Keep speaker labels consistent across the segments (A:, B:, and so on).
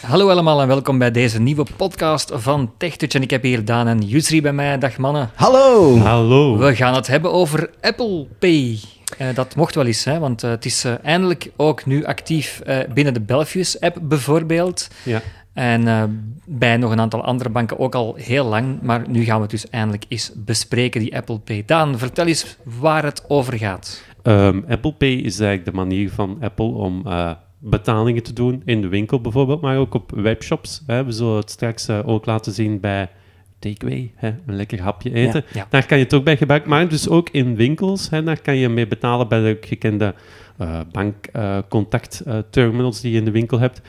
A: Hallo allemaal en welkom bij deze nieuwe podcast van TechTouch. En ik heb hier Daan en Yusri bij mij. Dag mannen.
B: Hallo!
C: Hallo.
A: We gaan het hebben over Apple Pay. Eh, dat mocht wel eens, hè, want eh, het is eh, eindelijk ook nu actief eh, binnen de Belfius-app bijvoorbeeld.
C: Ja.
A: En eh, bij nog een aantal andere banken ook al heel lang. Maar nu gaan we het dus eindelijk eens bespreken, die Apple Pay. Daan, vertel eens waar het over gaat.
C: Ehm, Apple Pay is eigenlijk de manier van Apple om eh, betalingen te doen in de winkel bijvoorbeeld, maar ook op webshops. Hè. We zullen het straks eh, ook laten zien bij Takeaway, hè. een lekker hapje eten.
A: Ja, ja.
C: Daar kan je het ook bij gebruiken, maar dus ook in winkels. Hè. Daar kan je mee betalen bij de gekende eh, bankcontactterminals eh, die je in de winkel hebt.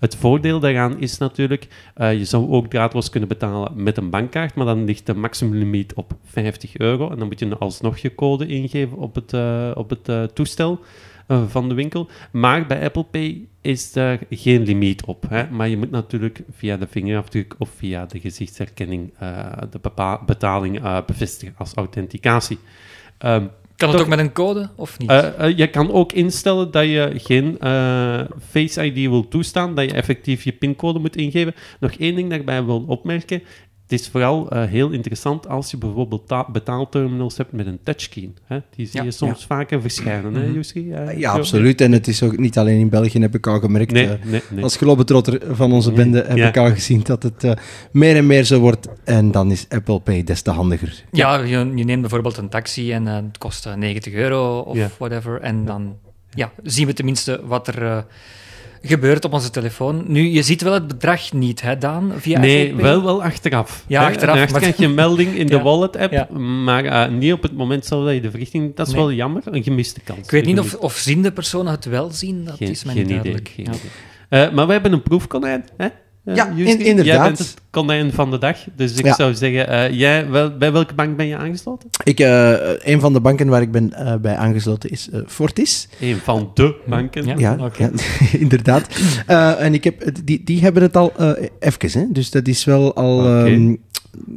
C: Het voordeel daaraan is natuurlijk, eh, je zou ook draadloos kunnen betalen met een bankkaart, maar dan ligt de maximumlimiet op 50 euro. En dan moet je alsnog je code ingeven op het, eh, op het eh, toestel eh, van de winkel. Maar bij Apple Pay is daar geen limiet op. Hè? Maar je moet natuurlijk via de vingerafdruk of via de gezichtsherkenning eh, de bepa- betaling eh, bevestigen als authenticatie. Ehm,
A: Kan het
C: Toch-
A: ook met een code of niet?
C: eh, eh, je kan ook instellen dat je geen eh, Face ID wil toestaan, dat je effectief je pincode moet ingeven. Nog één ding daarbij wil opmerken. Het is vooral eh, heel interessant als je bijvoorbeeld ta- betaalterminals hebt met een touchscreen. Hè? Die zie
A: Ja, Mhm.
C: je soms vaker verschijnen, hè, Jussi? Eh,
B: Ja,
C: zo.
B: absoluut. En het is ook niet alleen in België, heb ik al gemerkt.
C: Nee,
B: eh,
C: nee, nee.
B: Als globetrotter van onze bende heb
C: Ja.
B: ik al gezien dat het eh, meer en meer zo wordt. En dan is Apple Pay des te handiger.
A: Ja, je, je neemt bijvoorbeeld een taxi en eh, het kost eh, 90 euro of
C: Ja.
A: whatever. En dan ja, zien we tenminste wat er eh, gebeurt op onze telefoon. Nu, je ziet wel het bedrag niet, hè, Daan? Via
C: Nee,
A: FVP?
C: wel, wel achteraf.
A: Ja,
C: Hè,
A: achteraf,
C: Daarnaast
A: maar-
C: krijg je een melding in de
A: Ja.
C: wallet-app,
A: Ja.
C: maar eh, niet op het moment zelf dat je de verrichting... Dat is
A: Nee.
C: wel jammer, een gemiste kans.
A: Ik weet
C: Een
A: niet of,
C: gemiste-
A: of zien de personen het wel zien, dat is mij niet duidelijk.
C: Idee,
A: Ja.
C: geen idee. Eh, maar we hebben een proefkonijn, hè? Eh,
B: Ja,
C: Justin?
B: in- inderdaad.
C: Jij bent het konijn van de dag, dus ik
B: Ja.
C: zou zeggen, eh, jij, wel, bij welke bank ben je aangesloten?
B: Ik, eh, een van de banken waar ik ben eh, bij aangesloten is eh, Fortis.
C: Een van de banken.
A: Ja.
B: Ja,
A: oké.
B: ja, inderdaad. Eh, en ik heb, het- die, die hebben het al eh even, hè? dus dat is wel al...
C: Oké.
B: ehm,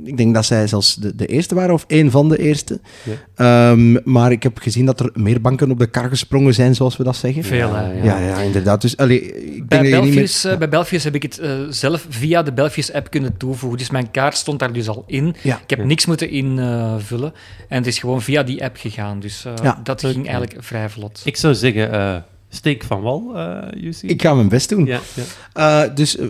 B: ik denk dat zij zelfs de, de eerste waren, of één van de eerste.
C: Ja.
B: Ehm, maar ik heb gezien dat er meer banken op de kar gesprongen zijn, zoals we dat zeggen.
A: Veel, hè.
B: Ja, ja, inderdaad. Dus, allee, ik
A: Bij
B: denk dat je niet
A: Belfius,
B: meer-
A: eh, bij Belfius heb ik het eh, zelf via de Belfius-app kunnen toevoegen. Dus mijn kaart stond daar dus al in.
B: Ja.
A: Ik heb
C: Ja.
A: niks moeten invullen. En het is gewoon via die app gegaan. Dus eh,
B: Ja.
A: dat ging eigenlijk vrij vlot.
C: Ik zou zeggen, eh, steek van wal, eh Jussi.
B: Ik ga mijn best doen.
C: Ja, ja.
B: Eh, dus eh,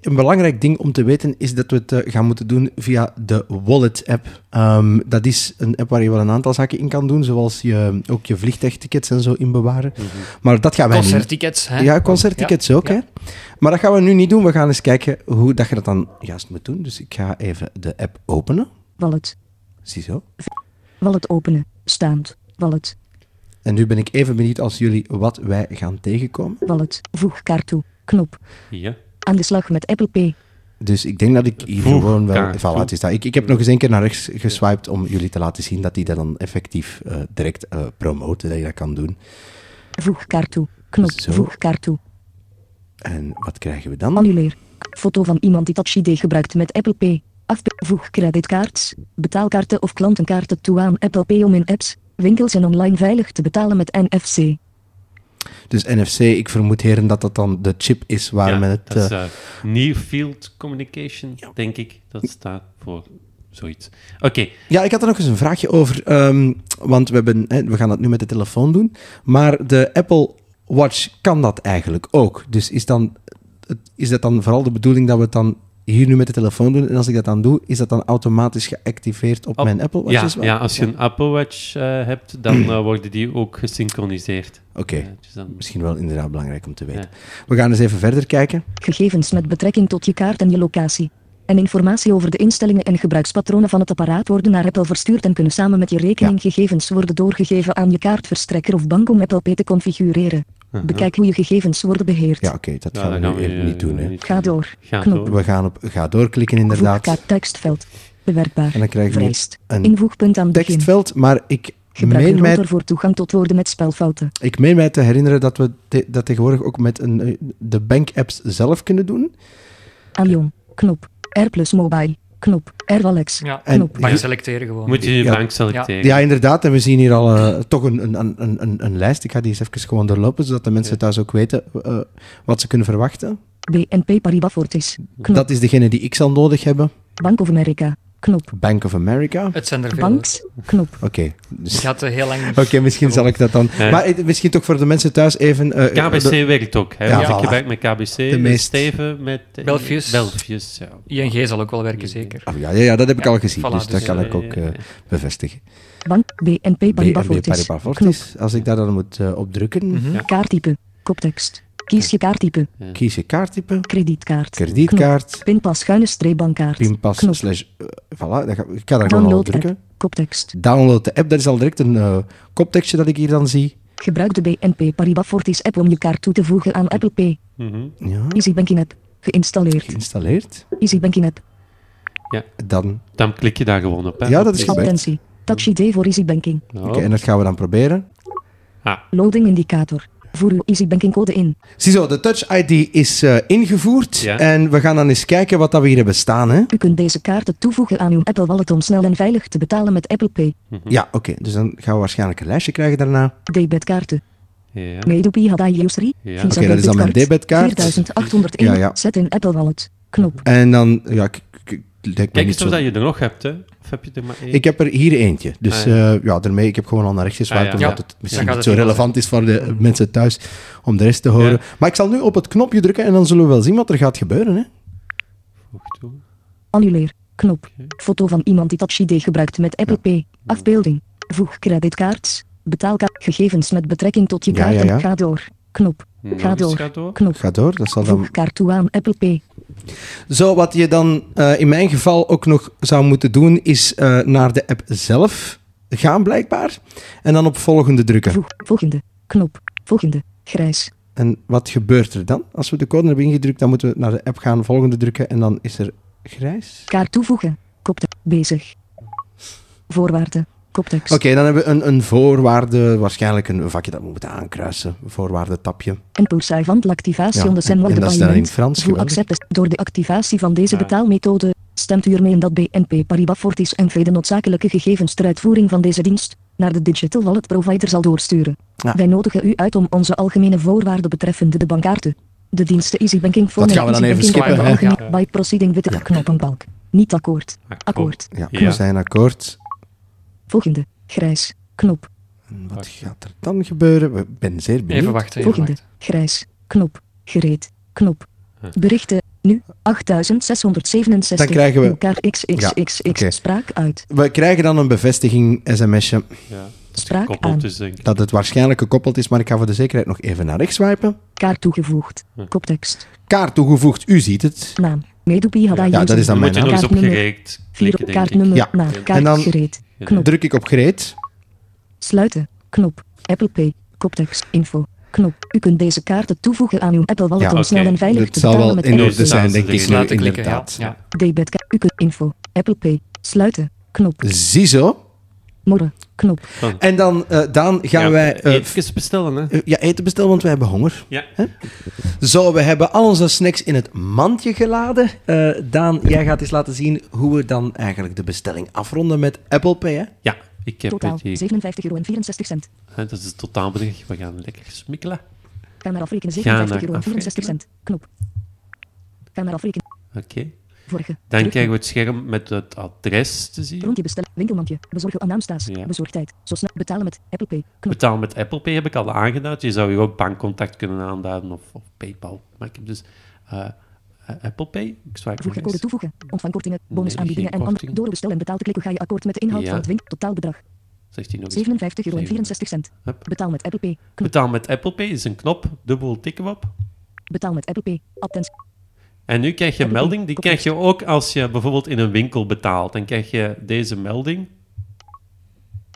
B: een belangrijk ding om te weten is dat we het eh, gaan moeten doen via de Wallet-app. Ehm, dat is een app waar je wel een aantal zaken in kan doen, zoals je, eh, ook je vliegtuigtickets en zo in bewaren.
C: Mhm.
B: Maar dat gaan Ah, wij niet
A: Concerttickets, hè?
B: Ja, concerttickets ook,
A: Ja.
B: hè. Maar dat gaan we nu niet doen. We gaan eens kijken hoe dat je dat dan juist moet doen. Dus ik ga even de app openen.
D: Wallet.
B: Ziezo.
D: Wallet openen. Staand. Wallet.
B: En nu ben ik even benieuwd als jullie wat wij gaan tegenkomen.
D: Wallet. Voeg kaart toe. Knop.
C: Ja.
D: Aan de slag met Apple Pay.
B: Dus ik denk dat ik hier
C: Voeg
B: gewoon wel...
C: kaart
B: Voilà,
C: toe.
B: het is dat. Ik, ik heb nog eens een keer naar rechts geswiped om jullie te laten zien dat die dat dan effectief eh, direct eh promoten, dat je dat kan doen.
D: Voeg kaart toe. Knop.
B: Zo.
D: Voeg kaart toe.
B: En wat krijgen we dan?
D: Annuleer. Foto van iemand die Touch ID gebruikt met Apple Pay. Afbe voeg creditcards, betaalkaarten of klantenkaarten toe aan Apple Pay om in apps, winkels en online veilig te betalen met NFC.
B: Dus NFC, ik vermoed heren dat dat dan de chip is waar
C: Ja,
B: men het...
C: dat is,
B: eh,
C: eh, Near Field Communication, denk ik. Dat staat voor zoiets. Oké,
B: Ja, ik had er nog eens een vraagje over. ehm, want we, hebben, hè, we gaan dat nu met de telefoon doen. Maar de Apple Watch kan dat eigenlijk ook. Dus is, dan, het- is dat dan vooral de bedoeling dat we het dan hier nu met de telefoon doen? En als ik dat dan doe, is dat dan automatisch geactiveerd op
C: Op-
B: mijn Apple Watch?
C: ja,
B: as wel?
C: ja, als je een Apple Watch eh, hebt, dan eh, worden die ook gesynchroniseerd.
B: Oké,
C: Ja, dus dan-
B: misschien wel inderdaad belangrijk om te weten.
C: Ja.
B: We gaan eens even verder kijken.
D: Gegevens met betrekking tot je kaart en je locatie. En informatie over de instellingen en gebruikspatronen van het apparaat worden naar Apple verstuurd en kunnen samen met je rekeninggegevens worden doorgegeven aan je kaartverstrekker of bank om Apple Pay te configureren. Bekijk hoe je gegevens worden beheerd.
B: Mhm. Ja, oké, dat
C: Ja,
B: gaan
C: dat
B: we
C: gaan
B: nu
C: we,
B: even
C: eh,
B: niet doen. Hè.
C: niet
D: Ga door.
C: Ga
D: Knop.
C: door.
B: We gaan op ga doorklikken
D: Voeg
B: inderdaad.
D: kaart tekstveld. Bewerkbaar.
B: En dan krijgen we
D: Vereist.
B: een
D: Invoegpunt aan het begin.
B: tekstveld, maar ik
D: Gebruik
B: meen
D: een
B: mij
D: router voor toegang tot woorden met spelfouten.
B: Ik meen mij te herinneren dat we te- dat tegenwoordig ook met een, eh, de bank-apps zelf kunnen doen.
D: Aion. Knop. R plus mobile. Knop. R Walex.
A: Ja,
B: En-
D: Knop.
C: Ah,
A: maar je selecteert gewoon.
C: Moet je je
B: Ja.
C: bank selecteren.
B: Ja, inderdaad. En we zien hier al eh, toch een, een, een, een, een lijst. Ik ga die eens even gewoon doorlopen, zodat de mensen thuis ook weten eh, wat ze kunnen verwachten.
D: BNP Paribas Fortis. Knop.
B: Dat is degene die ik zal nodig hebben.
D: Bank of America. Knop.
B: Bank of America. Oké.
A: Het zijn er veel.
D: Banks. Knop.
A: Ik
B: dus-
A: had eh, heel lang...
B: Oké, misschien zal ik dat dan.
C: Ja.
B: Maar eh, misschien toch voor de mensen thuis even. eh,
C: KBC
B: de-
C: werkt ook. Hè?
B: Ja,
C: ik
B: voilà.
C: gebruik met KBC, met
B: meest-
C: Steven, met... eh,
A: Belfius.
C: Belfius, ja.
A: ING zal ook wel werken, zeker.
B: Ah, ja, ja, ja, dat heb ik al gezien,
A: voilà,
B: dus dat
A: dus,
B: kan
C: eh,
B: ik ook eh, bevestigen.
D: Bank. BNP Paribas
B: BNB
D: Fortis.
B: Paribas Fortis. Als ik daar dan moet eh, op drukken,
A: Mhm.
D: Kaarttype. Koptekst. Kies je kaarttype.
B: kies je kaarttype,
D: Kredietkaart.
B: kredietkaart,
D: Knop. Pinpas schuine streep bankkaart.
B: pinpas,
D: Knop.
B: slash... eh, voilà, dan ga- ik kan daar gewoon al op
D: Download app.
B: drukken.
D: Koptekst.
B: Download de app, dat is al direct een eh, koptekstje dat ik hier dan zie.
D: Gebruik de BNP Paribas Fortis app om je kaart toe te voegen aan Apple Pay.
C: Mhm.
B: Ja,
D: Easy Banking app. Geïnstalleerd.
B: geïnstalleerd.
D: Easy Banking app.
B: Dan,
C: Dan klik je daar gewoon op. Hè?
B: Ja, dat is gebeurd.
D: Advertentie. Touch ID voor Easy Banking.
C: Nou,
B: oké, en dat gaan we dan proberen.
C: ah,
D: Loading indicator. Voer uw Easy Banking code in.
B: Ziezo, de Touch ID is eh, ingevoerd.
C: Ja.
B: En we gaan dan eens kijken wat dat we hier hebben staan. Hè?
D: U kunt deze kaarten toevoegen aan uw Apple Wallet om snel en veilig te betalen met Apple Pay.
B: Ja, oké. Dus dan gaan we waarschijnlijk een lijstje krijgen daarna.
D: Debitkaarten.
C: ja.
D: Medopi Hadai Yusri.
C: Ja.
D: Visa
B: Oké, dat is dan mijn debitkaart.
D: 4801.
B: Ja, ja.
D: Zet in Apple Wallet. Knop.
B: En dan, ja, ik, ik, ik- het lijkt me niet
C: Kijk eens
B: zo...
C: of dat je er nog hebt, hè. Of heb je er maar één?
B: Ik heb er hier eentje. Dus
C: Ah,
B: eh, ja, daarmee, ik heb gewoon al naar rechts gezwaaid,
C: Ah, ja.
B: omdat
A: Ja,
B: het misschien
A: dan
B: niet
A: gaat
B: zo
A: het
B: relevant is voor de mensen thuis om de rest te horen.
C: Ja.
B: Maar ik zal nu op het knopje drukken en dan zullen we wel zien wat er gaat gebeuren. Hè?
C: Voeg toe.
D: Annuleer. Knop. Foto van iemand die Touch ID gebruikt met Apple Pay. Afbeelding. Voeg creditcards. Betaalkaart. Gegevens met betrekking tot je
B: Ja,
D: kaarten.
B: ja, ja.
D: Ga door. Knop.
C: Nog
D: Ga
C: eens
D: door.
C: ga door.
D: Knop.
B: Ga door, dat zal dan...
D: Voeg kaart toe aan Apple Pay.
B: Zo, wat je dan eh, in mijn geval ook nog zou moeten doen, is eh, naar de app zelf gaan blijkbaar. En dan op volgende drukken.
D: Voeg. Volgende. Knop. Volgende. Grijs.
B: En wat gebeurt er dan? Als we de code hebben ingedrukt, dan moeten we naar de app gaan, volgende drukken en dan is er grijs.
D: Kaart toevoegen. Koptekst. Bezig. Voorwaarden. Koptekst.
B: Oké, dan hebben we een, een voorwaarde, waarschijnlijk een vakje dat we moeten aankruisen. Voorwaarde tapje.
D: En Pulsar van de activatie
B: Ja,
D: onder
B: en-
D: zijn
B: en dat is dan in Frans,
D: Voor
B: geweldig.
D: acceptance. Door de activatie van deze
C: Ja.
D: betaalmethode stemt u ermee in dat BNP Paribas Fortis en vele noodzakelijke gegevens ter uitvoering van deze dienst naar de digital wallet provider zal doorsturen.
B: Ja.
D: Wij nodigen u uit om onze algemene voorwaarden betreffende de bankaarten, de diensten Easy Banking voor
B: Dat gaan we dan even
A: skippen, hè?
D: By proceeding with the knoppenbalk. Niet akkoord.
C: Akkoord.
D: Akkoord.
B: Ja,
C: Ja.
B: we zijn akkoord.
D: Volgende. Grijs. Knop.
B: En wat gaat er dan gebeuren? Ik ben zeer benieuwd.
A: Even wachten, even
D: Volgende.
A: wachten.
D: Grijs. Knop. Gereed. Knop. Berichten. Nu. 8667.
B: Dan krijgen we-
D: Elkaar xxxx.
B: Ja, oké.
D: Spraak uit.
B: We krijgen dan een bevestiging sms'je
C: Ja.
D: Spraak
C: Koppelt
D: aan.
C: dus, denk ik.
B: dat het waarschijnlijk gekoppeld is, maar ik ga voor de zekerheid nog even naar rechts swipen.
D: Kaart toegevoegd. Koptekst.
B: Kaart toegevoegd, u ziet het.
D: Naam. Medopi had
B: Ja, dat is dan
C: Dan
B: mijn
C: moet je nog
B: naam.
C: eens
D: Kaartnummer.
C: opgereekt klikken,
D: Vier
C: denk ik.
D: kaartnummer.
B: Ja.
D: Naam. Kaart
B: En dan-
D: gereed.
C: Ja.
D: Knop.
B: Druk ik op gereed.
D: Sluiten. Knop. Apple Pay. Koptekst. Info. Knop. U kunt deze kaarten toevoegen aan uw Apple Wallet
B: Ja,
D: om
C: oké.
D: snel en veilig
B: Dat
D: te
B: zal
D: betalen
B: wel
D: met
B: in
D: Apple
B: orde
D: Pay.
B: zijn, denk
C: Dus
B: ik nu,
A: Laten klikken, ja.
B: inderdaad.
A: ja.
D: Debitkaart. U kunt info. Apple Pay. Sluiten. Knop.
B: Ziezo.
D: Morren. Knop.
B: En dan, eh, Daan, gaan
C: Ja,
B: wij... eh, f-
C: Even bestellen, hè.
B: eh, ja, eten bestellen, want wij hebben honger.
C: Ja.
B: Zo, we hebben al onze snacks in het mandje geladen. Eh, Daan, jij gaat eens laten zien hoe we dan eigenlijk de bestelling afronden met Apple Pay, hè?
C: Ja, ik heb
D: Totaal
C: het hier.
D: 57,64 euro. en 64 cent.
C: Hè, dat is het totaalbedrag. We gaan lekker smikkelen.
D: Ga maar afrekenen
C: Ga naar
D: 57 euro en 64 cent. Knop. Ga maar afrekenen.
C: Oké.
D: Vorige.
C: Dan
D: Terug.
C: krijgen we het scherm met het adres te zien.
D: Rondje bestellen. Winkelmandje. Bezorgen aan naamstaas.
C: Ja.
D: Bezorgdheid. Zo snel betalen met Apple Pay. Knop.
C: Betaal met Apple Pay heb ik al aangeduid. Je zou hier ook bankcontact kunnen aanduiden of, of PayPal. Maar ik heb dus eh, eh, Apple Pay. Ik swipe
D: Voeg je
C: nog
D: code
C: eens.
D: toevoegen. Ontvang kortingen,
C: geen
D: bonusaanbiedingen en andere.
C: korting.
D: Door uw bestel en betaal te klikken ga je akkoord met de inhoud
C: Ja.
D: van het winkel. Totaalbedrag.
C: Zegt hij nog eens.
D: 57 euro en 64 cent.
C: Hup.
D: Betaal met Apple Pay. Knop.
C: Betaal met Apple Pay is een knop. Dubbel tikken we op.
D: Betaal met Apple Pay. Attens.
C: En nu krijg je een
D: Apple Pay,
C: melding. Die
D: kopjes.
C: krijg je ook als je bijvoorbeeld in een winkel betaalt. Dan krijg je deze melding.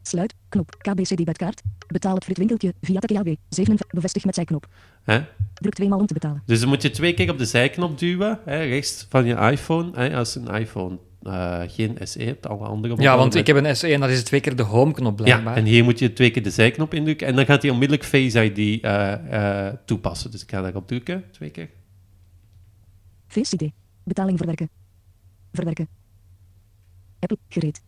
D: Sluit. Knop. KBC debitkaart. Betaal het fritwinkeltje via TKB. 7 bevestig met zijknop.
C: Hè?
D: Druk tweemaal om te betalen.
C: Dus dan moet je twee keer op de zijknop duwen, hè, rechts van je iPhone, hè, als een iPhone eh, geen SE hebt, alle andere
A: Ja,
C: modellen
A: want ik
C: met-
A: heb een SE en dat is twee keer de home-knop
C: Ja,
A: blijkbaar.
C: en hier moet je twee keer de zijknop indrukken en dan gaat hij onmiddellijk Face ID eh, eh, toepassen. Dus ik ga daarop drukken, twee keer.
D: Face ID. Betaling verwerken. Verwerken. Apple gereed.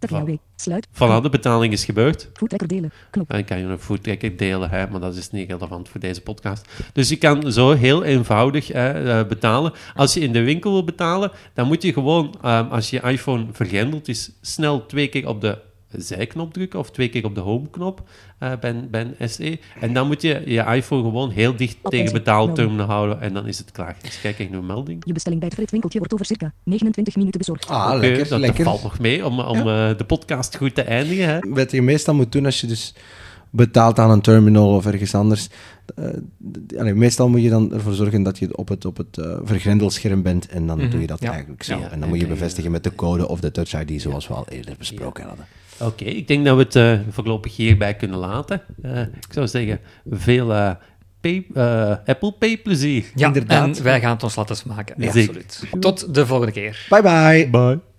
D: Enter
C: Voilà.
D: jouw Sluit.
C: Voilà, de betaling is gebeurd.
D: Voetrekker delen. Knop.
C: Dan kan je een voertrekker delen, hè, maar dat is niet relevant voor deze podcast. Dus je kan zo heel eenvoudig hè, eh, betalen. Als je in de winkel wil betalen, dan moet je gewoon, ehm, als je iPhone vergrendeld is, snel twee keer op de zijknop drukken of twee keer op de home-knop eh, bij, een- bij een SE. E. En dan moet je je iPhone gewoon heel dicht
D: Op
C: tegen
D: deze
C: betaalterminal houden en dan is het klaar. Dus kijk, ik nu een melding.
D: Je bestelling bij het fritwinkeltje wordt over circa 29 minuten bezorgd.
B: Ah,
C: Oké,
B: lekker,
C: dat, dat
B: lekker.
C: valt nog mee om, om eh, de podcast goed te eindigen. Hè.
B: Wat je meestal moet doen als je dus betaalt aan een terminal of ergens anders. eh, d- allee, meestal moet je dan ervoor zorgen dat je op het, op het eh, vergrendelscherm bent en dan
A: Mhm,
B: doe je dat
A: ja.
B: eigenlijk zo.
C: Ja,
B: en dan
C: en
B: moet je
C: dan, eh,
B: bevestigen met de code of de Touch ID zoals we al eerder besproken hadden.
C: Oké, ik denk dat we het eh, voorlopig hierbij kunnen laten. Eh, ik zou zeggen, veel eh, pay- eh, Apple Pay plezier.
A: Ja,
B: Inderdaad.
A: en wij gaan het ons laten smaken.
C: Ja.
A: Absoluut. Tot de volgende keer.
B: Bye bye!
C: Bye.